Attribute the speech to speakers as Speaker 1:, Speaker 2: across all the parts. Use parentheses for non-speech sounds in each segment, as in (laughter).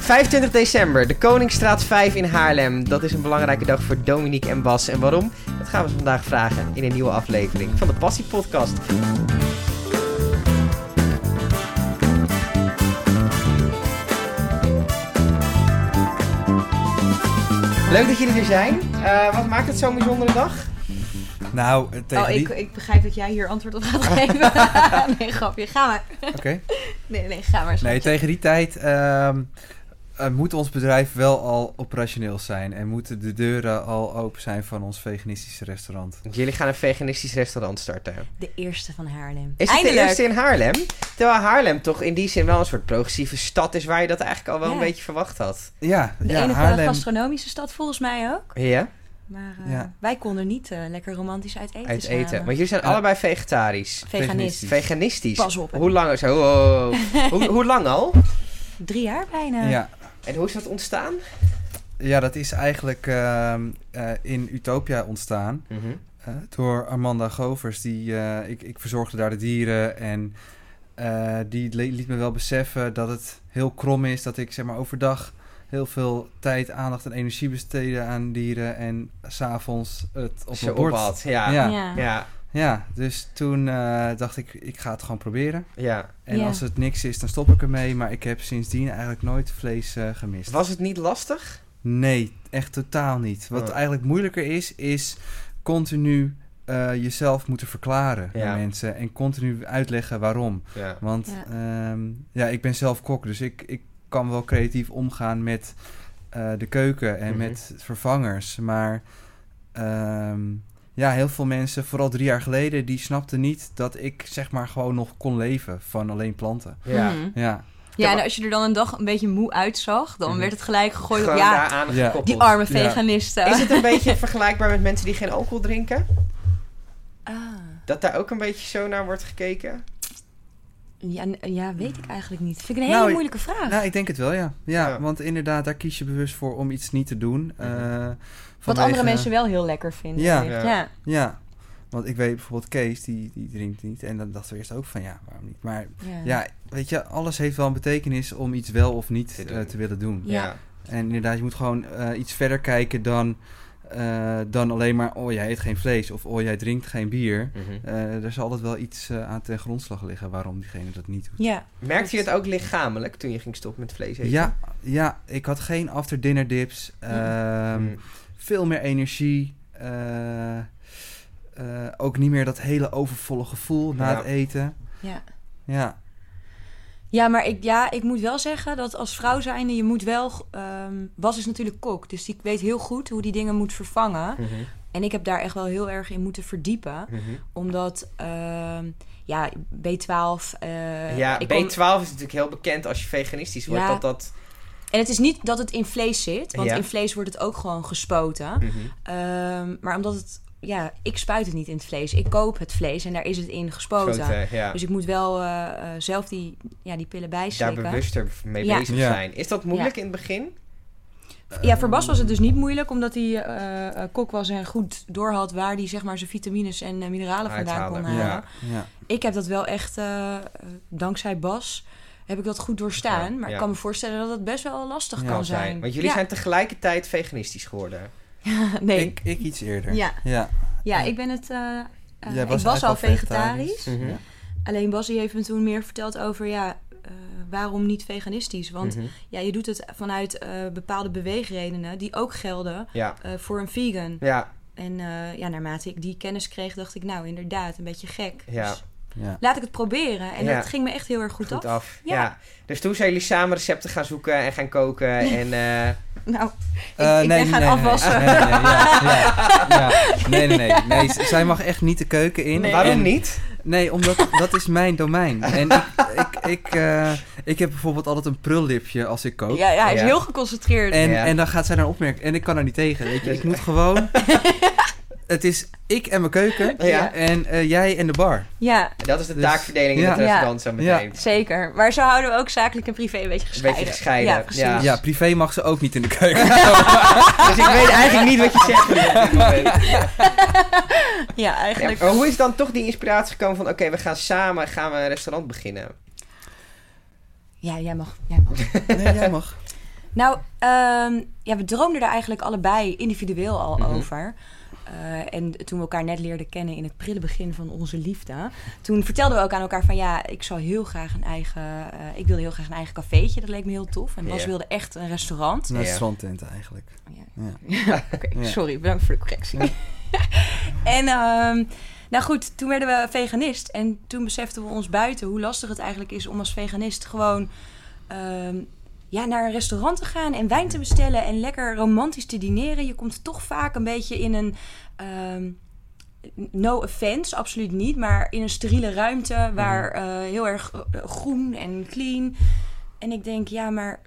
Speaker 1: 25 december, de Koningsstraat 5 in Haarlem. Dat is een belangrijke dag voor Dominique en Bas. En waarom? Dat gaan we ze vandaag vragen in een nieuwe aflevering van de Passie Podcast. Leuk dat jullie er zijn. Eh, wat maakt het zo'n bijzondere dag?
Speaker 2: Nou, eh, tegen
Speaker 3: Oh,
Speaker 2: die...
Speaker 3: ik, ik begrijp dat jij hier antwoord op gaat
Speaker 1: (laughs)
Speaker 3: geven. nee, grapje. Ga maar.
Speaker 2: Oké.
Speaker 3: Nee, nee, ga maar.
Speaker 2: Nee,
Speaker 3: (laughs) schatje.
Speaker 2: tegen die tijd ehm, eh, moet ons bedrijf wel al operationeel zijn. En moeten de deuren al open zijn van ons veganistische restaurant.
Speaker 1: Jullie gaan een veganistisch restaurant starten.
Speaker 3: De eerste van Haarlem.
Speaker 1: Is het de
Speaker 3: Eindelijk.
Speaker 1: eerste in Haarlem? Terwijl Haarlem toch in die zin wel een soort progressieve stad is waar je dat eigenlijk al wel
Speaker 3: Ja.
Speaker 1: een beetje verwacht had.
Speaker 2: Ja,
Speaker 3: De
Speaker 2: ja
Speaker 3: enige
Speaker 2: Haarlem.
Speaker 3: gastronomische stad volgens mij ook.
Speaker 1: Ja,
Speaker 3: Maar eh,
Speaker 2: Ja.
Speaker 3: wij konden niet eh, lekker romantisch uit eten
Speaker 1: uit
Speaker 3: samen.
Speaker 1: eten. Maar jullie zijn
Speaker 2: Ja.
Speaker 1: allebei vegetarisch.
Speaker 3: Veganist.
Speaker 2: Veganistisch.
Speaker 1: Veganistisch.
Speaker 3: Pas op, hè.
Speaker 1: Hoe lang, zo, oh, oh,
Speaker 3: (laughs)
Speaker 1: oh. hoe, hoe lang al?
Speaker 3: Drie jaar bijna.
Speaker 2: Ja.
Speaker 1: En hoe is dat ontstaan?
Speaker 2: ja, dat is eigenlijk ehm, eh, in Utopia ontstaan.
Speaker 3: Mhm.
Speaker 2: Eh, door Armanda Govers. Die, eh, ik, ik verzorgde daar de dieren en eh, die li- liet me wel beseffen dat het heel krom is dat ik zeg maar overdag heel veel tijd, aandacht en energie besteden aan dieren en s'avonds het op
Speaker 1: Zo
Speaker 2: mijn
Speaker 1: op
Speaker 2: bord.
Speaker 1: had. Ja. Ja.
Speaker 2: Ja.
Speaker 3: Ja.
Speaker 1: ja,
Speaker 2: Ja, dus toen eh, dacht ik, ik ga het gewoon proberen. En
Speaker 3: Ja.
Speaker 2: als het niks is, dan stop ik ermee. Maar ik heb sindsdien eigenlijk nooit vlees eh, gemist.
Speaker 1: Was het niet lastig?
Speaker 2: Nee, echt totaal niet. Wat
Speaker 1: Oh.
Speaker 2: eigenlijk moeilijker is, is continu eh, jezelf moeten verklaren
Speaker 1: Ja.
Speaker 2: aan mensen. En continu uitleggen waarom.
Speaker 1: Ja.
Speaker 2: Want
Speaker 3: Ja.
Speaker 2: ja, ja ik ben zelf kok, dus ik, ik kan wel creatief omgaan met eh, de keuken en
Speaker 1: Mhm.
Speaker 2: met vervangers. Maar ehm, ja, heel veel mensen, vooral drie jaar geleden, die snapten niet dat ik zeg maar gewoon nog kon leven van alleen planten.
Speaker 1: Ja.
Speaker 3: Mhm.
Speaker 2: Ja,
Speaker 3: ja, en als je er dan een dag een beetje moe uitzag, dan
Speaker 1: Mhm.
Speaker 3: werd het gelijk gegooid op
Speaker 1: Gewoon
Speaker 3: ja,
Speaker 1: daaraan
Speaker 2: Ja.
Speaker 1: gekoppeld.
Speaker 3: die arme
Speaker 2: Ja.
Speaker 3: veganisten.
Speaker 1: Is het een beetje vergelijkbaar met mensen die geen alcohol drinken?
Speaker 3: Ah.
Speaker 1: Dat daar ook een beetje zo naar wordt gekeken?
Speaker 3: Ja, n- ja, weet ik eigenlijk niet. Vind ik een hele
Speaker 2: Nou, ik-
Speaker 3: moeilijke vraag.
Speaker 2: nou, ik denk het wel, ja. ja.
Speaker 1: Ja.
Speaker 2: want inderdaad, daar kies je bewust voor om iets niet te doen. eh,
Speaker 3: Wat
Speaker 2: vanwege-
Speaker 3: andere mensen wel heel lekker vinden.
Speaker 2: Ja.
Speaker 3: wellicht.
Speaker 1: Ja.
Speaker 3: ja.
Speaker 2: Ja, want ik weet bijvoorbeeld Kees, die, die drinkt niet. En dan dachten we eerst ook van, ja, waarom niet? Maar Ja, weet je, alles heeft wel een betekenis om iets wel of niet
Speaker 1: Te
Speaker 2: eh,
Speaker 1: doen.
Speaker 2: te willen doen.
Speaker 3: Ja.
Speaker 2: En inderdaad, je moet gewoon eh, iets verder kijken dan, eh, dan alleen maar, oh jij eet geen vlees of oh jij drinkt geen bier.
Speaker 1: Mhm.
Speaker 2: Eh, er zal altijd wel iets eh, aan ten grondslag liggen waarom diegene dat niet doet.
Speaker 3: ja.
Speaker 1: Merkte je het ook lichamelijk toen je ging stoppen met vlees eten?
Speaker 2: Ja, ja ik had geen after dinner dips. ehm,
Speaker 1: Mm.
Speaker 2: Veel meer energie. eh, eh, ook niet meer dat hele overvolle gevoel na
Speaker 1: Ja.
Speaker 2: het eten.
Speaker 3: Ja.
Speaker 2: Ja,
Speaker 3: Ja, maar ik, ja, ik moet wel zeggen dat als vrouw zijnde, je moet wel... ehm Bas is natuurlijk kok, dus die weet heel goed hoe die dingen moet vervangen.
Speaker 1: Mhm.
Speaker 3: En ik heb daar echt wel heel erg in moeten verdiepen.
Speaker 1: Mhm.
Speaker 3: Omdat, ehm, ja, B12... eh,
Speaker 1: ja,
Speaker 3: ik
Speaker 1: B12
Speaker 3: kom-
Speaker 1: is natuurlijk heel bekend als je veganistisch wordt.
Speaker 3: Ja.
Speaker 1: Dat dat...
Speaker 3: En het is niet dat het in vlees zit, want
Speaker 1: Ja.
Speaker 3: in vlees wordt het ook gewoon gespoten. Ehm, maar omdat het... Ja, ik spuit het niet in het vlees. Ik koop het vlees en daar is het in gespoten.
Speaker 1: Grote, ja.
Speaker 3: Dus ik moet wel eh, eh, zelf die, ja, die pillen
Speaker 1: Daar
Speaker 3: bijslikken.
Speaker 1: bewuster mee
Speaker 3: Ja.
Speaker 1: bezig
Speaker 2: Ja.
Speaker 1: zijn. Is dat moeilijk in het begin?
Speaker 3: Ja, voor Bas was het dus niet moeilijk, omdat hij eh, eh, kok was en goed doorhad waar hij zeg maar, zijn vitamines en eh, mineralen vandaan kon
Speaker 1: Uithalen,
Speaker 3: halen.
Speaker 1: ja.
Speaker 2: ja.
Speaker 3: Ik heb dat wel echt, eh, eh, dankzij Bas, heb ik dat goed doorstaan.
Speaker 1: Ja,
Speaker 3: maar
Speaker 1: ja.
Speaker 3: ik kan me voorstellen dat dat best wel lastig
Speaker 2: Ja,
Speaker 3: kan zijn.
Speaker 1: Want jullie
Speaker 3: Ja,
Speaker 1: zijn tegelijkertijd veganistisch geworden.
Speaker 3: (laughs) nee.
Speaker 2: Ik, ik iets eerder.
Speaker 3: Ja.
Speaker 2: ja.
Speaker 3: ja, ik ben het... eh, eh,
Speaker 2: Jij
Speaker 3: ik was
Speaker 2: eigenlijk
Speaker 3: al vegetarisch.
Speaker 1: Mhm.
Speaker 2: Ja.
Speaker 3: Alleen Bas die heeft me toen meer verteld over ja, eh, waarom niet veganistisch. Want
Speaker 1: Mhm.
Speaker 3: ja, je doet het vanuit eh, bepaalde beweegredenen die ook gelden
Speaker 1: Ja.
Speaker 3: eh, voor een vegan.
Speaker 1: Ja,
Speaker 3: En eh, ja, naarmate ik die kennis kreeg, dacht ik, nou inderdaad, een beetje gek.
Speaker 1: Ja.
Speaker 3: Dus
Speaker 2: Ja.
Speaker 3: laat ik het proberen. En
Speaker 1: Ja.
Speaker 3: dat ging me echt heel erg goed,
Speaker 1: goed,
Speaker 3: af.
Speaker 1: af. Ja.
Speaker 3: Ja.
Speaker 1: Dus toen zijn jullie samen recepten gaan zoeken en gaan koken. En eh,
Speaker 3: Nou,
Speaker 2: Eh,
Speaker 3: ik ben gaan afwassen.
Speaker 2: Nee, nee, nee, ja, ja, ja. nee, nee, nee, nee. z- Zij mag echt niet de keuken in.
Speaker 1: waarom
Speaker 2: En-
Speaker 1: niet?
Speaker 2: Nee, omdat dat is mijn domein. En ik, ik, ik, eh, ik heb bijvoorbeeld altijd een prullipje als ik kook.
Speaker 3: ja, ja, hij is
Speaker 1: Ja.
Speaker 3: heel geconcentreerd.
Speaker 2: En,
Speaker 1: Ja.
Speaker 2: en dan gaat zij daar opmerken. En ik kan er niet tegen. Weet je. Ik moet
Speaker 1: (laughs)
Speaker 2: gewoon... Het is ik en mijn keuken.
Speaker 1: Ja.
Speaker 2: En eh, jij en de bar.
Speaker 3: Ja,
Speaker 1: Dat is de
Speaker 2: Dus-
Speaker 1: taakverdeling in
Speaker 2: Ja.
Speaker 1: het restaurant zo
Speaker 2: Ja.
Speaker 1: meteen.
Speaker 3: zeker. Maar zo houden we ook zakelijk en privé een beetje
Speaker 1: Een
Speaker 3: gescheiden.
Speaker 1: beetje gescheiden.
Speaker 3: Ja, precies.
Speaker 1: Ja.
Speaker 2: Ja, privé mag ze ook niet in de keuken. Nou.
Speaker 1: (laughs) Dus ik weet eigenlijk niet wat je zegt. Ruud, op dit moment.
Speaker 3: (laughs) Ja,
Speaker 1: Ja,
Speaker 3: eigenlijk.
Speaker 1: maar hoe is dan toch die inspiratie gekomen van... oké, we gaan samen gaan we een restaurant beginnen?
Speaker 3: Ja, jij mag. Jij mag.
Speaker 2: Nee, jij mag.
Speaker 3: Nou, ehm, ja, we droomden daar eigenlijk allebei individueel al
Speaker 1: Mhm.
Speaker 3: over. Eh, en toen we elkaar net leerden kennen in het prille begin van onze liefde, toen vertelden we ook aan elkaar van ja, ik zou heel graag een eigen, eh, ik wilde heel graag een eigen cafeetje, dat leek me heel tof. En Bas
Speaker 1: Ja.
Speaker 3: wilde echt een restaurant. Oh,
Speaker 2: Een
Speaker 1: Ja.
Speaker 2: strandtent eigenlijk.
Speaker 3: Ja.
Speaker 2: Ja.
Speaker 3: (laughs) Oké,
Speaker 2: Ja.
Speaker 3: sorry, bedankt voor de correctie. en ehm, nou goed, toen werden we veganist. En toen beseften we ons buiten hoe lastig het eigenlijk is om als veganist gewoon ehm, ja, naar een restaurant te gaan en wijn te bestellen en lekker romantisch te dineren. Je komt toch vaak een beetje in een. ehm, No offense, absoluut niet. Maar in een steriele ruimte waar eh, heel erg eh, groen en clean. En ik denk, ja, maar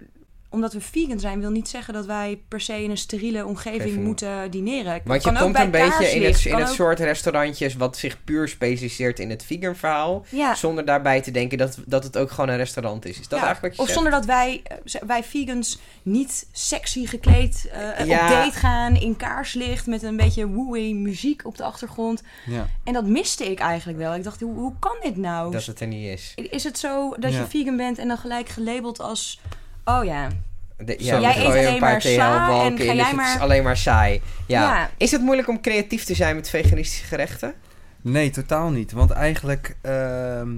Speaker 3: omdat we vegan zijn, wil niet zeggen dat wij per se in een steriele omgeving
Speaker 1: Even-
Speaker 3: moeten dineren. Ik-
Speaker 1: Want je
Speaker 3: kan ook
Speaker 1: komt
Speaker 3: bij
Speaker 1: een beetje in het,
Speaker 3: kaarslicht,
Speaker 1: in
Speaker 3: kan
Speaker 1: het
Speaker 3: ook-
Speaker 1: soort restaurantjes wat zich puur specialiseert in het vegan verhaal.
Speaker 3: Ja.
Speaker 1: Zonder daarbij te denken dat, dat het ook gewoon een restaurant is. Is dat
Speaker 3: Ja,
Speaker 1: eigenlijk wat
Speaker 3: Of
Speaker 1: je
Speaker 3: zonder dat wij, eh, z- wij vegans niet sexy gekleed eh,
Speaker 1: Ja.
Speaker 3: op date gaan in kaarslicht met een beetje woeie muziek op de achtergrond.
Speaker 2: Ja.
Speaker 3: En dat miste ik eigenlijk wel. Ik dacht, hoe, hoe kan dit nou?
Speaker 1: zegt? Dat het er niet is.
Speaker 3: Is het zo dat
Speaker 2: Ja.
Speaker 3: je vegan bent en dan gelijk gelabeld als... Oh ja,
Speaker 1: De-
Speaker 2: Zo.
Speaker 1: we
Speaker 2: Jij
Speaker 1: gooien
Speaker 3: eet alleen maar
Speaker 1: TL
Speaker 3: sa
Speaker 1: balken
Speaker 3: en ga
Speaker 1: in, dus
Speaker 3: jij
Speaker 1: het is
Speaker 3: maar-
Speaker 1: alleen maar saai. Ja.
Speaker 3: Ja.
Speaker 1: Is het moeilijk om creatief te zijn met veganistische gerechten?
Speaker 2: Nee, totaal niet. Want eigenlijk, ehm,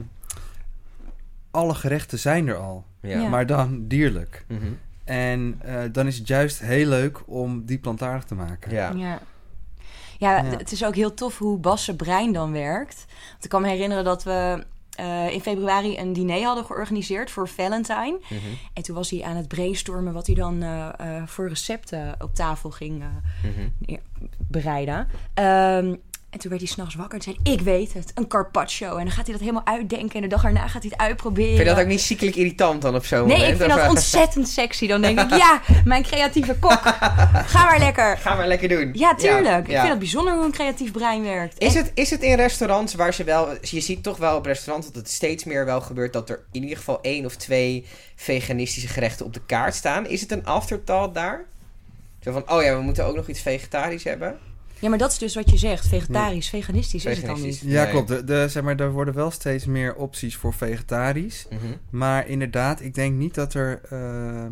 Speaker 2: alle gerechten zijn er al.
Speaker 3: Ja.
Speaker 2: Maar dan dierlijk.
Speaker 1: Mhm.
Speaker 2: En eh, dan is het juist heel leuk om die plantaardig te maken.
Speaker 1: ja.
Speaker 3: Ja. Ja,
Speaker 2: Ja.
Speaker 3: d- het is ook heel tof hoe Bas zijn brein dan werkt. Want ik kan me herinneren dat we eh, in februari een diner hadden georganiseerd voor Valentine.
Speaker 1: Mhm.
Speaker 3: En toen was hij aan het brainstormen wat hij dan eh, eh, voor recepten op tafel ging eh,
Speaker 1: Mhm.
Speaker 3: bereiden. Ehm, en toen werd hij s'nachts wakker en zei hij, ik weet het, een carpaccio. En dan gaat hij dat helemaal uitdenken en de dag daarna gaat hij het uitproberen.
Speaker 1: Vind je dat ook niet ziekelijk irritant dan op zo'n
Speaker 3: Nee,
Speaker 1: moment?
Speaker 3: ik vind
Speaker 1: Of,
Speaker 3: dat
Speaker 1: eh,
Speaker 3: ontzettend sexy. Dan denk ik, ja, mijn creatieve kok, ga maar lekker.
Speaker 1: Ga maar lekker doen.
Speaker 3: Ja, tuurlijk. Ik
Speaker 1: ja.
Speaker 3: vind het bijzonder hoe een creatief brein werkt.
Speaker 1: Is
Speaker 3: En-
Speaker 1: het, is het in restaurants waar ze wel... Je ziet toch wel op restaurants dat het steeds meer wel gebeurt... dat er in ieder geval één of twee veganistische gerechten op de kaart staan. Is het een afterthought daar? Zo van, oh ja, we moeten ook nog iets vegetarisch hebben.
Speaker 3: Ja, maar dat is dus wat je zegt. Vegetarisch, veganistisch, is
Speaker 1: Hmm. Veganistisch.
Speaker 3: het
Speaker 2: Ja,
Speaker 1: Nee.
Speaker 2: klopt. De, de- zeg maar, er worden wel steeds meer opties voor vegetarisch.
Speaker 1: Mhm.
Speaker 2: Maar inderdaad, ik denk niet dat er, ehm,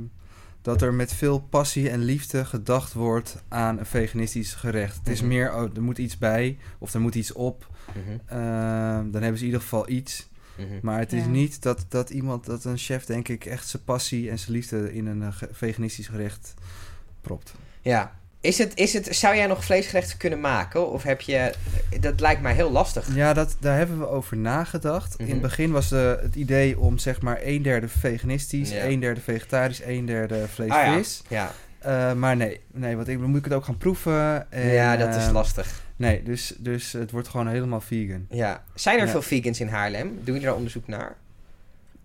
Speaker 2: dat er met veel passie en liefde gedacht wordt aan een veganistisch gerecht. Het is
Speaker 1: Mhm.
Speaker 2: meer, oh, er moet iets bij of er moet iets op.
Speaker 1: Mhm.
Speaker 2: Ehm, dan hebben ze in ieder geval iets.
Speaker 1: Mhm.
Speaker 2: Maar het is
Speaker 3: Ja.
Speaker 2: niet dat, dat iemand, dat een chef, denk ik, echt zijn passie en zijn liefde in een eh, ge- veganistisch gerecht propt.
Speaker 1: mhm. Ja. Is het, is het, zou jij nog vleesgerechten kunnen maken? Of heb je... Dat lijkt mij heel lastig.
Speaker 2: Ja, dat, daar hebben we over nagedacht. In
Speaker 1: Mhm.
Speaker 2: het begin was eh, het idee om zeg maar een derde veganistisch,
Speaker 1: Ja.
Speaker 2: een derde vegetarisch, een derde
Speaker 1: Ah ja.
Speaker 2: vlees-vis.
Speaker 1: Ja,
Speaker 2: Eh, maar nee, nee, want ik, dan moet ik het ook gaan proeven. En,
Speaker 1: ja dat is
Speaker 2: eh,
Speaker 1: lastig.
Speaker 2: Nee, dus, dus het wordt gewoon helemaal vegan.
Speaker 1: Ja. Zijn er
Speaker 2: ja.
Speaker 1: veel vegans in Haarlem? Doe je daar onderzoek naar?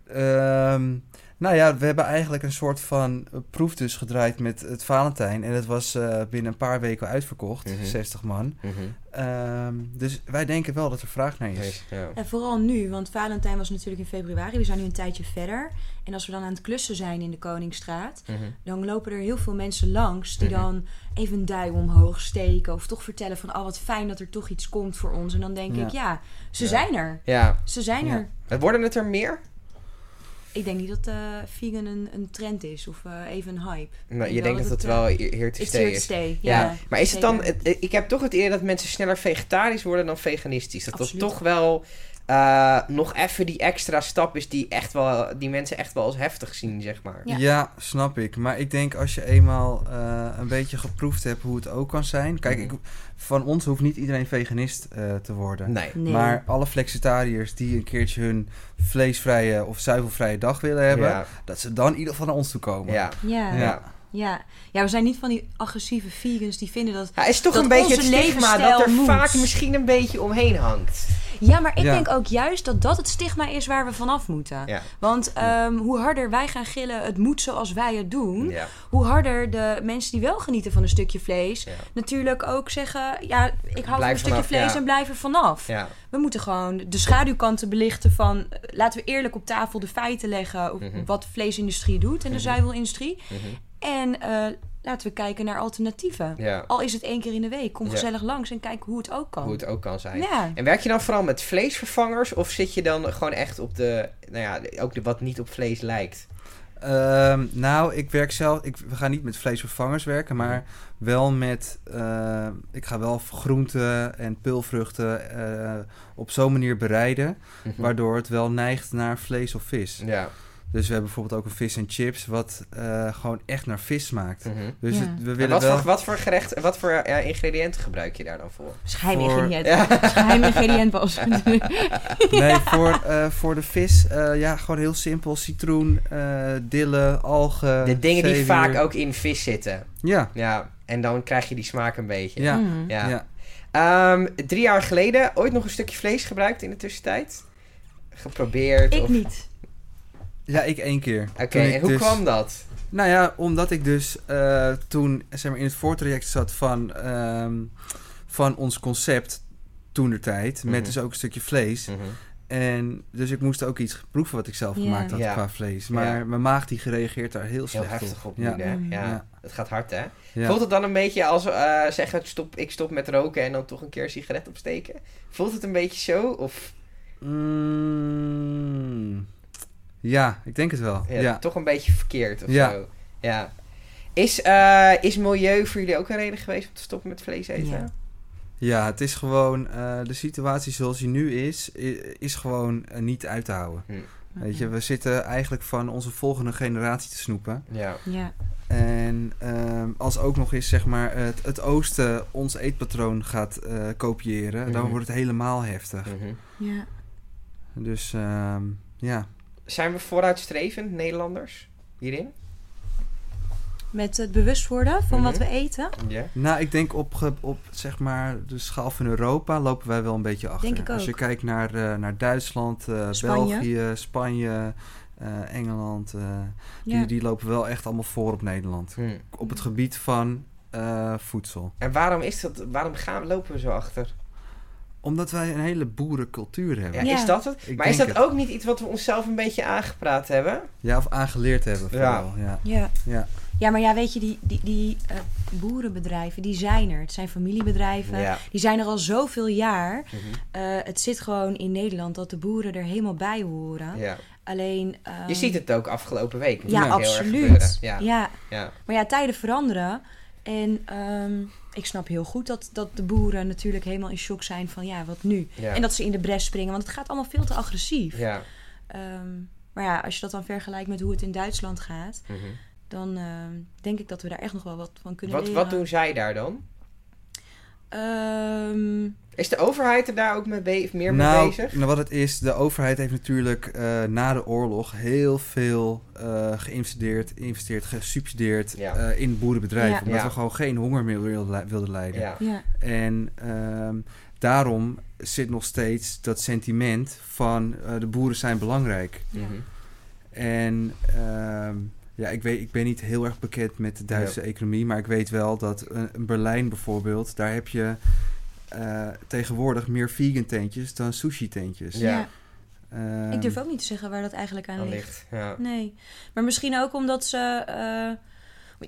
Speaker 2: Ehm, nou ja, we hebben eigenlijk een soort van eh, proef dus gedraaid met het Valentijn. En dat was eh, binnen een paar weken uitverkocht,
Speaker 1: Mhm.
Speaker 2: 60 man. Ehm, dus wij denken wel dat er vraag naar is.
Speaker 1: Yes. Ja.
Speaker 3: En vooral nu, want Valentijn was natuurlijk in februari. We zijn nu een tijdje verder. En als we dan aan het klussen zijn in de Koningsstraat...
Speaker 1: Mhm.
Speaker 3: dan lopen er heel veel mensen langs die
Speaker 1: Mhm.
Speaker 3: dan even een duim omhoog steken... of toch vertellen van, oh wat fijn dat er toch iets komt voor ons. En dan denk
Speaker 2: Ja.
Speaker 3: ik, ja, ze
Speaker 1: Ja.
Speaker 3: zijn er.
Speaker 1: ja.
Speaker 3: Ze zijn
Speaker 2: Ja.
Speaker 3: er.
Speaker 1: Worden het er meer?
Speaker 3: Ik denk niet dat eh, vegan een, een trend is of eh, even een hype.
Speaker 1: Nou,
Speaker 3: Ik
Speaker 1: je denkt
Speaker 3: denk
Speaker 1: dat
Speaker 3: dat
Speaker 1: het
Speaker 3: het,
Speaker 1: wel hier te
Speaker 3: It's
Speaker 1: stay
Speaker 3: here to
Speaker 1: is.
Speaker 3: stay.
Speaker 1: Ja.
Speaker 3: Ja,
Speaker 1: maar is het dan...
Speaker 3: zeker.
Speaker 1: het- ik heb toch het idee dat mensen sneller vegetarisch worden dan veganistisch. Dat
Speaker 3: Absoluut.
Speaker 1: dat toch wel eh, nog even die extra stap is die, echt wel, die mensen echt wel als heftig zien, zeg maar.
Speaker 3: Ja.
Speaker 2: Ja. snap ik. Maar ik denk als je eenmaal eh, een beetje geproefd hebt hoe het ook kan zijn. Kijk,
Speaker 1: Mhm.
Speaker 2: ik, van ons hoeft niet iedereen veganist eh, te worden.
Speaker 1: Nee.
Speaker 3: Nee.
Speaker 2: Maar alle flexitariërs die een keertje hun vleesvrije of zuivelvrije dag willen hebben,
Speaker 1: Ja.
Speaker 2: dat ze dan in ieder geval naar ons toe komen.
Speaker 1: Ja.
Speaker 3: Ja. Ja.
Speaker 2: Ja.
Speaker 3: ja. Ja, we zijn niet van die agressieve vegans die vinden dat...
Speaker 1: Ja, is toch
Speaker 3: Dat
Speaker 1: een beetje het
Speaker 3: onze
Speaker 1: stigma dat
Speaker 3: levensstijl
Speaker 1: er
Speaker 3: moet.
Speaker 1: vaak misschien een beetje omheen hangt.
Speaker 3: Ja, maar ik
Speaker 2: Ja.
Speaker 3: denk ook juist dat dat het stigma is waar we vanaf moeten.
Speaker 1: Ja.
Speaker 3: Want ehm, hoe harder wij gaan gillen, het moet zoals wij het doen.
Speaker 1: Ja.
Speaker 3: Hoe harder de mensen die wel genieten van een stukje vlees,
Speaker 1: Ja.
Speaker 3: natuurlijk ook zeggen: Ja, ik hou van
Speaker 1: Blijf
Speaker 3: een stukje
Speaker 1: vanaf,
Speaker 3: vlees
Speaker 1: ja.
Speaker 3: en blijf er vanaf.
Speaker 1: Ja.
Speaker 3: We moeten gewoon de schaduwkanten belichten van eh, laten we eerlijk op tafel de feiten leggen.
Speaker 1: Mhm.
Speaker 3: wat de vleesindustrie doet en de zuivelindustrie.
Speaker 1: Mhm.
Speaker 3: En eh, laten we kijken naar alternatieven.
Speaker 1: ja.
Speaker 3: Al is het één keer in de week, kom
Speaker 1: Ja.
Speaker 3: gezellig langs en kijk hoe het ook kan.
Speaker 1: Hoe het ook kan zijn.
Speaker 3: ja.
Speaker 1: En werk je dan vooral met vleesvervangers of zit je dan gewoon echt op de, nou ja, ook de, wat niet op vlees lijkt?
Speaker 2: Ehm, nou, ik werk zelf. Ik, we gaan niet met vleesvervangers werken, maar wel met. eh, ik ga wel groenten en peulvruchten eh, op zo'n manier bereiden,
Speaker 1: Mhm.
Speaker 2: waardoor het wel neigt naar vlees of vis.
Speaker 1: Ja.
Speaker 2: Dus we hebben bijvoorbeeld ook een vis en chips, wat eh, gewoon echt naar vis smaakt.
Speaker 1: mhm.
Speaker 2: Dus
Speaker 3: Ja.
Speaker 2: het- we
Speaker 1: En
Speaker 2: willen
Speaker 1: wat,
Speaker 2: wel.
Speaker 1: voor, wat voor gerecht, wat voor ja, ingrediënten gebruik je daar dan voor?
Speaker 3: Schijn
Speaker 2: Voor-
Speaker 3: ingrediënt.
Speaker 1: Ja.
Speaker 3: Schijn
Speaker 1: (laughs)
Speaker 3: ingrediënt was het.
Speaker 2: Nee, voor, eh, voor de vis, eh, ja, gewoon heel simpel: citroen, eh, dillen, algen.
Speaker 1: De dingen die
Speaker 2: Eh, zeewier.
Speaker 1: vaak ook in vis zitten.
Speaker 2: Ja,
Speaker 1: Ja, en dan krijg je die smaak een beetje.
Speaker 2: ja,
Speaker 3: Mm.
Speaker 1: Ja.
Speaker 2: ja.
Speaker 1: Ehm, drie jaar geleden ooit nog een stukje vlees gebruikt in de tussentijd? Geprobeerd?
Speaker 3: Ik
Speaker 1: of...
Speaker 3: niet.
Speaker 2: Ja, ik één keer.
Speaker 1: Oké,
Speaker 2: Toen ik
Speaker 1: en hoe
Speaker 2: dus-
Speaker 1: kwam dat?
Speaker 2: Nou ja, omdat ik dus eh, toen zeg maar, in het voortraject zat van, ehm, van ons concept toenertijd.
Speaker 1: Mhm.
Speaker 2: Met dus ook een stukje vlees. En dus ik moest ook iets proeven wat ik zelf
Speaker 3: Ja.
Speaker 2: gemaakt had
Speaker 1: Ja.
Speaker 2: qua vlees. Maar
Speaker 1: Ja.
Speaker 2: mijn maag die gereageerd daar heel
Speaker 1: Heel
Speaker 2: slecht
Speaker 1: heftig op nu,
Speaker 2: Ja.
Speaker 1: hè? Ja.
Speaker 3: Mm,
Speaker 2: Ja.
Speaker 1: dat gaat hard, hè?
Speaker 2: Ja.
Speaker 1: Voelt het dan een beetje als eh, zeggen, stop, ik stop met roken en dan toch een keer een sigaret opsteken? Voelt het een beetje zo? Of
Speaker 2: Mm. ja, ik denk het wel.
Speaker 1: ja,
Speaker 2: Ja.
Speaker 1: toch een beetje verkeerd of
Speaker 2: Ja.
Speaker 1: zo? Ja. Is, eh, is milieu voor jullie ook een reden geweest om te stoppen met vlees eten?
Speaker 3: Ja.
Speaker 2: Ja, het is gewoon... eh, de situatie zoals die nu is, i- is gewoon eh, niet uit te houden. Weet
Speaker 3: Mhm.
Speaker 2: je, we zitten eigenlijk van onze volgende generatie te snoepen.
Speaker 1: Ja.
Speaker 3: Ja.
Speaker 2: En ehm, als ook nog eens zeg maar, het, het oosten ons eetpatroon gaat eh, kopiëren,
Speaker 1: Mhm.
Speaker 2: dan wordt het helemaal heftig.
Speaker 1: Mhm.
Speaker 3: ja.
Speaker 2: Dus ehm, ja.
Speaker 1: Zijn we vooruitstrevend, Nederlanders, hierin?
Speaker 3: Met het bewust worden van wat
Speaker 1: Mhm.
Speaker 3: we eten,
Speaker 1: Ja.
Speaker 2: Nou, ik denk op, ge- op zeg maar, de schaal van Europa lopen wij wel een beetje achter.
Speaker 3: Denk ik
Speaker 2: Als je
Speaker 3: ook.
Speaker 2: kijkt naar, eh, naar Duitsland, eh,
Speaker 3: Spanje.
Speaker 2: België, Spanje, eh, Engeland, eh,
Speaker 3: ja.
Speaker 2: die, die lopen wel echt allemaal voor op Nederland.
Speaker 1: Hm.
Speaker 2: Op het gebied van eh, voedsel.
Speaker 1: En waarom is dat? Waarom gaan, lopen we zo achter?
Speaker 2: Omdat wij een hele boerencultuur
Speaker 1: Ja,
Speaker 2: hebben.
Speaker 3: Ja.
Speaker 1: Is dat het?
Speaker 2: Ik
Speaker 1: maar is dat
Speaker 2: denk
Speaker 1: ook niet iets wat we onszelf een beetje aangepraat hebben?
Speaker 2: Ja, of aangeleerd hebben
Speaker 1: Ja.
Speaker 2: vooral. Ja.
Speaker 3: Ja.
Speaker 2: Ja.
Speaker 3: Ja, maar ja, weet je, die, die, die eh, boerenbedrijven, die zijn er. Het zijn familiebedrijven. Die zijn er al zoveel jaar.
Speaker 1: Mhm.
Speaker 3: Eh, het zit gewoon in Nederland dat de boeren er helemaal bij horen.
Speaker 1: ja.
Speaker 3: Alleen... ehm,
Speaker 1: Je ziet het ook afgelopen week.
Speaker 3: Ja,
Speaker 1: natuurlijk heel erg gebeuren.
Speaker 3: absoluut.
Speaker 1: Ja, ja.
Speaker 3: ja, Maar ja, tijden veranderen. En ehm, ik snap heel goed dat, dat de boeren natuurlijk helemaal in shock zijn van ja, wat nu?
Speaker 1: ja.
Speaker 3: En dat ze in de bres springen, want het gaat allemaal veel te agressief.
Speaker 1: Ja.
Speaker 3: Ehm, maar ja, als je dat dan vergelijkt met hoe het in Duitsland gaat,
Speaker 1: Mhm.
Speaker 3: dan ehm, denk ik dat we daar echt nog wel wat van kunnen
Speaker 1: Wat,
Speaker 3: leren.
Speaker 1: wat doen zij daar dan?
Speaker 3: Ehm,
Speaker 1: Is de overheid er daar ook mee be- meer mee
Speaker 2: nou,
Speaker 1: bezig?
Speaker 2: nou, wat het is, de overheid heeft natuurlijk eh, na de oorlog heel veel eh, geïnvesteerd, geïnvesteerd, gesubsidieerd
Speaker 1: Ja.
Speaker 2: eh, in boerenbedrijven.
Speaker 3: Ja.
Speaker 2: Omdat
Speaker 1: Ja.
Speaker 2: we gewoon geen honger meer wilden, li- wilden lijden.
Speaker 1: Ja.
Speaker 3: ja,
Speaker 2: En ehm, daarom zit nog steeds dat sentiment van eh, de boeren zijn belangrijk.
Speaker 3: ja.
Speaker 1: Mhm.
Speaker 2: En ehm, ja, ik, weet, ik ben niet heel erg bekend met de Duitse economie, maar ik weet wel dat eh, in Berlijn bijvoorbeeld, daar heb je eh, tegenwoordig meer vegan tentjes dan sushi tentjes. Ehm,
Speaker 1: Ja.
Speaker 3: Ja. Ik durf ook niet te zeggen waar dat eigenlijk aan
Speaker 1: Dan
Speaker 3: ligt.
Speaker 1: ligt. Ja.
Speaker 3: Nee. Maar misschien ook omdat ze. eh,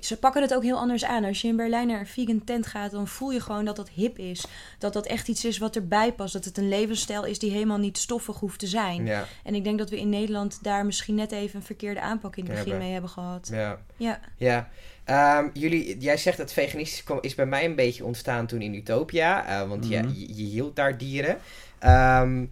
Speaker 3: ze pakken het ook heel anders aan. Als je in Berlijn naar een vegan tent gaat, dan voel je gewoon dat dat hip is. Dat dat echt iets is wat erbij past. Dat het een levensstijl is die helemaal niet stoffig hoeft te zijn.
Speaker 1: Ja.
Speaker 3: En ik denk dat we in Nederland daar misschien net even een verkeerde aanpak in het
Speaker 1: Ja,
Speaker 3: begin
Speaker 1: we-
Speaker 3: mee hebben gehad.
Speaker 1: ja.
Speaker 3: Ja,
Speaker 1: Ja, Ehm, jullie, jij zegt dat veganistisch kwam, is bij mij een beetje ontstaan toen in Utopia, eh, want je-
Speaker 2: Mhm.
Speaker 1: je, je, hield daar dieren. Ehm,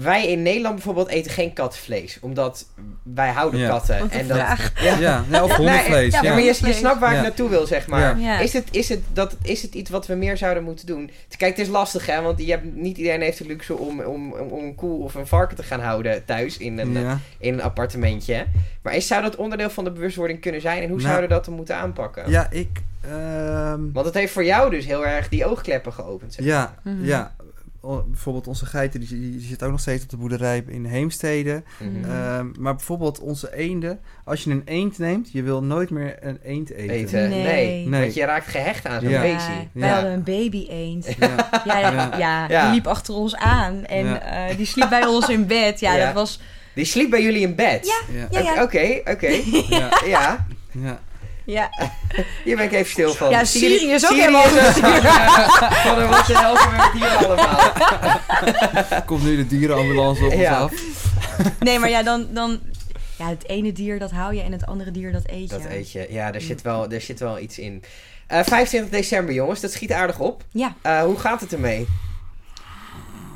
Speaker 1: wij in Nederland bijvoorbeeld eten geen katvlees, omdat wij houden
Speaker 2: Ja.
Speaker 1: katten.
Speaker 3: wat een
Speaker 1: en dat,
Speaker 3: vraag.
Speaker 1: Ja.
Speaker 2: Ja, nee, (laughs) of hondenvlees.
Speaker 1: Nee,
Speaker 2: ja,
Speaker 1: ja, maar je, je
Speaker 3: Hondenvlees.
Speaker 1: snapt waar ik
Speaker 2: Ja.
Speaker 1: naartoe wil, zeg maar.
Speaker 2: Ja.
Speaker 3: Ja.
Speaker 1: Is, het, is, het, dat, is het iets wat we meer zouden moeten doen? Kijk, het is lastig, hè, want je hebt, niet iedereen heeft de luxe om, om, om, om een koe of een varken te gaan houden thuis in een,
Speaker 2: Ja.
Speaker 1: in een appartementje. Maar is, zou dat onderdeel van de bewustwording kunnen zijn? En hoe
Speaker 2: Nou,
Speaker 1: zouden we dat dan moeten aanpakken?
Speaker 2: Ja, ik. ehm,
Speaker 1: Want het heeft voor jou dus heel erg die oogkleppen geopend. Zeg.
Speaker 2: ja,
Speaker 3: Mhm.
Speaker 2: ja. O- bijvoorbeeld onze geiten, die, die zit ook nog steeds op de boerderij in Heemstede.
Speaker 1: Mhm.
Speaker 3: Mhm.
Speaker 2: Ehm, maar bijvoorbeeld onze eenden. Als je een eend neemt, je wil nooit meer een eend eten.
Speaker 1: Eten. Nee.
Speaker 3: Nee.
Speaker 2: eh, Nee.
Speaker 1: Want je raakt gehecht aan zo'n
Speaker 2: Ja.
Speaker 1: beestje.
Speaker 3: wij
Speaker 2: Ja.
Speaker 3: hadden een baby eend.
Speaker 2: Ja.
Speaker 3: Ja, ja,
Speaker 2: Ja.
Speaker 1: Ja.
Speaker 3: die liep achter ons aan. En
Speaker 2: Ja.
Speaker 3: eh, die sliep bij ons in bed. Ja,
Speaker 1: Ja.
Speaker 3: dat was...
Speaker 1: Die sliep bij jullie in bed?
Speaker 2: Ja.
Speaker 3: (laughs) Ja, ja.
Speaker 1: Oké, oké.
Speaker 2: Ja.
Speaker 1: ja,
Speaker 2: ja.
Speaker 3: Ja,
Speaker 1: hier ben ik even stil van.
Speaker 3: ja Siri is ook
Speaker 1: Siri
Speaker 3: helemaal...
Speaker 1: is ook-
Speaker 3: (laughs)
Speaker 1: Van wat de helft met hier allemaal.
Speaker 2: Komt nu de dierenambulance op ons
Speaker 1: Ja.
Speaker 2: af.
Speaker 3: Nee, maar ja, dan, dan Ja, het ene dier dat hou je en het andere dier dat eet je.
Speaker 1: Dat eet je. Ja, daar zit wel, daar zit wel iets in. Eh 25 december, jongens. Dat schiet aardig op.
Speaker 3: Ja.
Speaker 1: Eh, hoe gaat het ermee?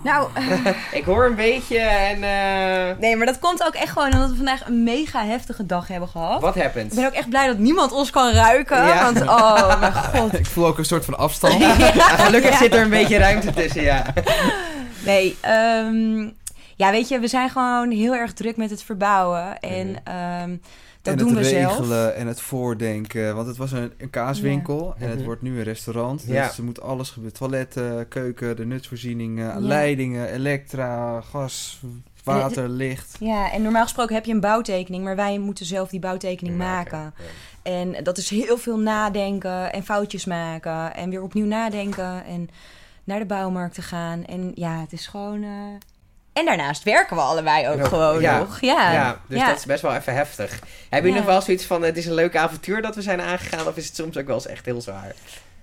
Speaker 3: Nou, (laughs)
Speaker 1: Ik hoor een beetje en... eh,
Speaker 3: nee, maar dat komt ook echt gewoon omdat we vandaag een mega heftige dag hebben gehad.
Speaker 1: Wat
Speaker 3: Ik
Speaker 1: happens?
Speaker 3: ben ook echt blij dat niemand ons kan ruiken.
Speaker 1: Ja.
Speaker 3: Want, oh mijn god.
Speaker 2: Ik voel ook een soort van afstand.
Speaker 1: Gelukkig
Speaker 3: Ja.
Speaker 1: zit er een beetje ruimte tussen, ja.
Speaker 3: Nee, ehm, ja, weet je, we zijn gewoon heel erg druk met het verbouwen. En ehm, (laughs) dat
Speaker 2: en
Speaker 3: doen we
Speaker 2: het
Speaker 3: zelf.
Speaker 2: regelen en het voordenken. Want het was een, een kaaswinkel en het
Speaker 1: Mhm.
Speaker 2: wordt nu een restaurant.
Speaker 1: Ja.
Speaker 2: Dus er moet alles gebeuren. Toiletten, keuken, de nutsvoorzieningen,
Speaker 3: Ja.
Speaker 2: leidingen, elektra, gas, water, licht.
Speaker 3: Ja, en normaal gesproken heb je een bouwtekening, maar wij moeten zelf die bouwtekening maken. En dat is heel veel nadenken en foutjes maken en weer opnieuw nadenken en naar de bouwmarkt te gaan. En ja, het is gewoon. eh, En daarnaast werken we allebei ook
Speaker 1: Ja,
Speaker 3: gewoon
Speaker 1: ja,
Speaker 3: nog. Ja,
Speaker 1: Ja, dus
Speaker 3: ja.
Speaker 1: dat is best wel even heftig. Hebben jullie
Speaker 3: Ja.
Speaker 1: nog wel zoiets van, het is een leuk avontuur dat we zijn aangegaan... of is het soms ook wel eens echt heel zwaar?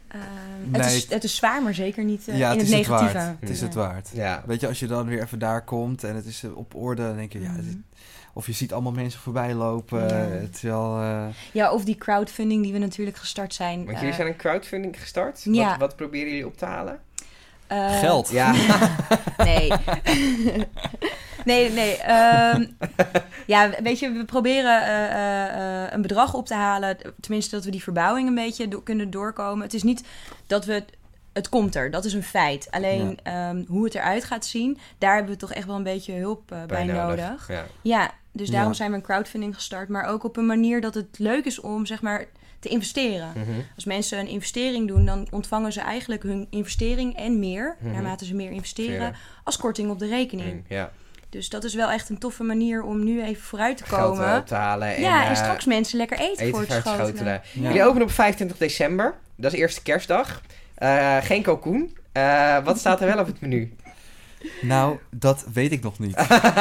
Speaker 3: Ehm,
Speaker 2: Nee,
Speaker 3: het, is, het is zwaar, maar zeker niet eh, in het,
Speaker 2: is
Speaker 3: negatieve.
Speaker 2: het waard. Het is
Speaker 3: Ja.
Speaker 2: het waard.
Speaker 1: Ja.
Speaker 2: Weet je, als je dan weer even daar komt en het is eh, op orde, dan denk je, ja, dit-
Speaker 3: Mhm.
Speaker 2: of je ziet allemaal mensen voorbij lopen.
Speaker 3: Ja.
Speaker 2: Het is wel, eh,
Speaker 3: Ja, of die crowdfunding die we natuurlijk gestart zijn.
Speaker 1: Want
Speaker 3: eh,
Speaker 1: jullie zijn een crowdfunding gestart.
Speaker 3: ja.
Speaker 1: Wat, wat proberen jullie op te halen?
Speaker 3: eh,
Speaker 2: geld.
Speaker 1: Ja,
Speaker 3: Nee. nee, nee. ehm, ja, weet je, we proberen eh, eh, eh, een bedrag op te halen. Tenminste, dat we die verbouwing een beetje do- kunnen doorkomen. Het is niet dat we... het- Het komt er, dat is een feit. Alleen ehm, hoe het eruit gaat zien, daar hebben we toch echt wel een beetje hulp eh, bij nodig.
Speaker 1: Ja.
Speaker 3: Ja, dus
Speaker 2: Ja.
Speaker 3: daarom zijn we een crowdfunding gestart. Maar ook op een manier dat het leuk is om, zeg maar, te investeren.
Speaker 1: Mhm.
Speaker 3: Als mensen een investering doen, dan ontvangen ze eigenlijk hun investering en meer,
Speaker 1: Mhm.
Speaker 3: naarmate ze meer investeren,
Speaker 1: Investeren.
Speaker 3: als korting op de rekening.
Speaker 1: Mm, ja.
Speaker 3: Dus dat is wel echt een toffe manier om nu even vooruit te
Speaker 1: Geld
Speaker 3: komen.
Speaker 1: eh, op te halen. En,
Speaker 3: ja, en
Speaker 1: eh,
Speaker 3: straks mensen lekker eten,
Speaker 1: eten
Speaker 3: voor het schotelen.
Speaker 1: schotelen.
Speaker 2: Ja.
Speaker 1: Jullie openen op 25 december. Dat is eerste kerstdag. Eh, geen kalkoen. Eh, wat staat er wel op het menu? (laughs)
Speaker 2: Nou, dat weet ik nog
Speaker 3: (laughs)
Speaker 2: niet.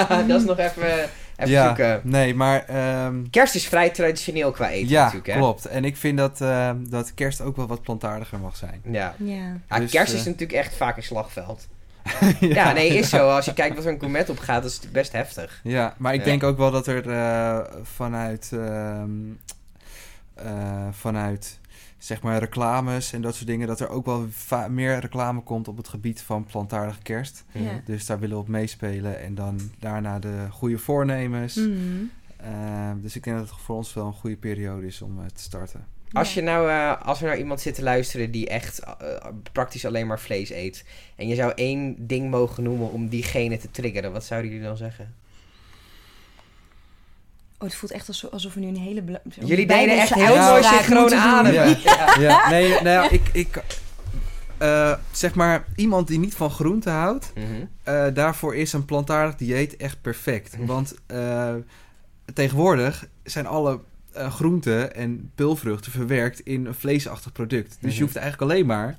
Speaker 1: dat is nog even, even
Speaker 2: ja,
Speaker 1: zoeken.
Speaker 2: nee, maar ehm,
Speaker 1: Kerst is vrij traditioneel qua eten
Speaker 2: ja,
Speaker 1: natuurlijk. Hè?
Speaker 2: klopt. En ik vind dat, ehm, dat kerst ook wel wat plantaardiger mag zijn.
Speaker 1: Ja.
Speaker 3: Ja.
Speaker 1: Ja,
Speaker 2: Dus,
Speaker 1: kerst
Speaker 2: eh,
Speaker 1: is natuurlijk echt vaak een
Speaker 2: (laughs)
Speaker 1: slagveld. (laughs) ja, nee, is zo. Als je kijkt wat er een gourmet op gaat, dat is natuurlijk best heftig.
Speaker 2: Ja, maar ik
Speaker 1: Ja.
Speaker 2: denk ook wel dat er eh, vanuit, ehm, eh, vanuit zeg maar reclames en dat soort dingen, dat er ook wel va- meer reclame komt op het gebied van plantaardige kerst.
Speaker 3: Ja.
Speaker 2: Dus daar willen we op meespelen en dan daarna de goede voornemens.
Speaker 3: Mhm.
Speaker 2: Eh, dus ik denk dat het voor ons wel een goede periode is om eh, te starten.
Speaker 1: Als,
Speaker 3: Ja.
Speaker 1: je nou, eh, als er nou iemand zit te luisteren die echt eh, praktisch alleen maar vlees eet. En je zou één ding mogen noemen om diegene te triggeren. Wat zouden jullie dan zeggen?
Speaker 3: Oh, het voelt echt alsof, alsof we nu een hele... bela-
Speaker 1: Jullie
Speaker 3: bijna
Speaker 1: deden echt
Speaker 3: onze
Speaker 1: heel mooi
Speaker 3: uitspraak
Speaker 1: synchroon
Speaker 3: moeten doen.
Speaker 1: (laughs) ademen.
Speaker 2: Ja. Ja, nee, nou ja, ik, ik eh, zeg maar iemand die niet van groente houdt,
Speaker 1: Mhm.
Speaker 2: Eh, daarvoor is een plantaardig dieet echt
Speaker 1: (laughs)
Speaker 2: perfect. Want eh, tegenwoordig zijn alle eh, groenten en pulvruchten verwerkt in een vleesachtig product. Dus
Speaker 1: Mhm.
Speaker 2: je hoeft eigenlijk alleen maar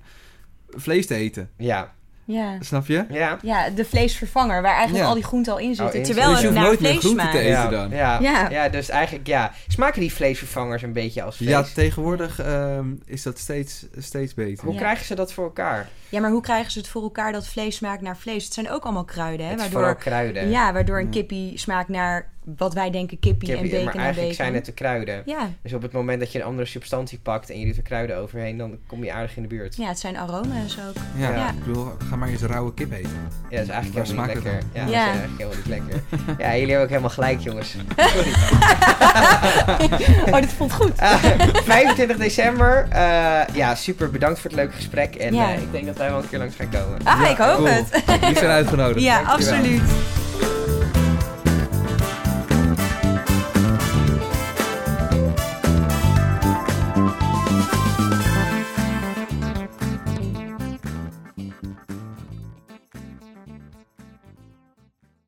Speaker 2: vlees te eten.
Speaker 1: Ja.
Speaker 3: Ja.
Speaker 2: Snap je?
Speaker 1: Ja.
Speaker 3: ja, de vleesvervanger, waar eigenlijk
Speaker 2: Ja.
Speaker 3: al die groenten al in
Speaker 1: Oh,
Speaker 3: zitten.
Speaker 1: in
Speaker 3: terwijl
Speaker 1: zitten.
Speaker 3: het
Speaker 1: Dus je
Speaker 3: naar
Speaker 2: hoeft nooit
Speaker 3: vlees
Speaker 2: meer groenten
Speaker 3: smaakt.
Speaker 2: te eten.
Speaker 1: ja.
Speaker 2: dan.
Speaker 1: Ja.
Speaker 3: Ja.
Speaker 1: Ja, dus eigenlijk ja. Smaken die vleesvervangers een beetje als vlees?
Speaker 2: Ja, tegenwoordig ehm, is dat steeds, steeds beter.
Speaker 1: Hoe
Speaker 3: Ja.
Speaker 1: krijgen ze dat voor elkaar?
Speaker 3: Ja, maar hoe krijgen ze het voor elkaar dat vlees smaakt naar vlees? Het zijn ook allemaal kruiden, hè?
Speaker 1: Het is vooral
Speaker 3: waardoor,
Speaker 1: kruiden.
Speaker 3: ja, waardoor een
Speaker 2: Ja.
Speaker 3: kippie smaakt naar wat wij denken kippie,
Speaker 1: Kippie-
Speaker 3: en bacon
Speaker 1: maar
Speaker 3: en
Speaker 1: eigenlijk
Speaker 3: bacon.
Speaker 1: zijn het de kruiden.
Speaker 3: Ja.
Speaker 1: Dus op het moment dat je een andere substantie pakt en je doet er kruiden overheen, dan kom je aardig in de buurt. Ja,
Speaker 3: ja, het zijn aroma's
Speaker 1: (laughs)
Speaker 3: ook.
Speaker 2: Ja,
Speaker 1: Ja.
Speaker 2: ik bedoel, ga maar eens rauwe kip eten.
Speaker 1: dat is eigenlijk
Speaker 2: Waar
Speaker 1: helemaal niet
Speaker 2: smaakt
Speaker 1: lekker.
Speaker 2: het
Speaker 1: Ja,
Speaker 2: dan?
Speaker 1: dat is
Speaker 3: Ja.
Speaker 1: eigenlijk helemaal niet lekker. Ja, jullie hebben ook helemaal gelijk, jongens.
Speaker 3: Oh, dit voelt goed.
Speaker 1: Eh, (laughs) 25 december. eh, ja, super bedankt voor het leuke gesprek. En
Speaker 3: Ja.
Speaker 1: eh, ik denk dat wij wel een keer langs gaan komen.
Speaker 3: Ah,
Speaker 2: Ja,
Speaker 3: ik hoop
Speaker 2: cool.
Speaker 3: het. (laughs)
Speaker 2: Jullie zijn uitgenodigd.
Speaker 3: Ja,
Speaker 1: Dankjewel.
Speaker 3: absoluut.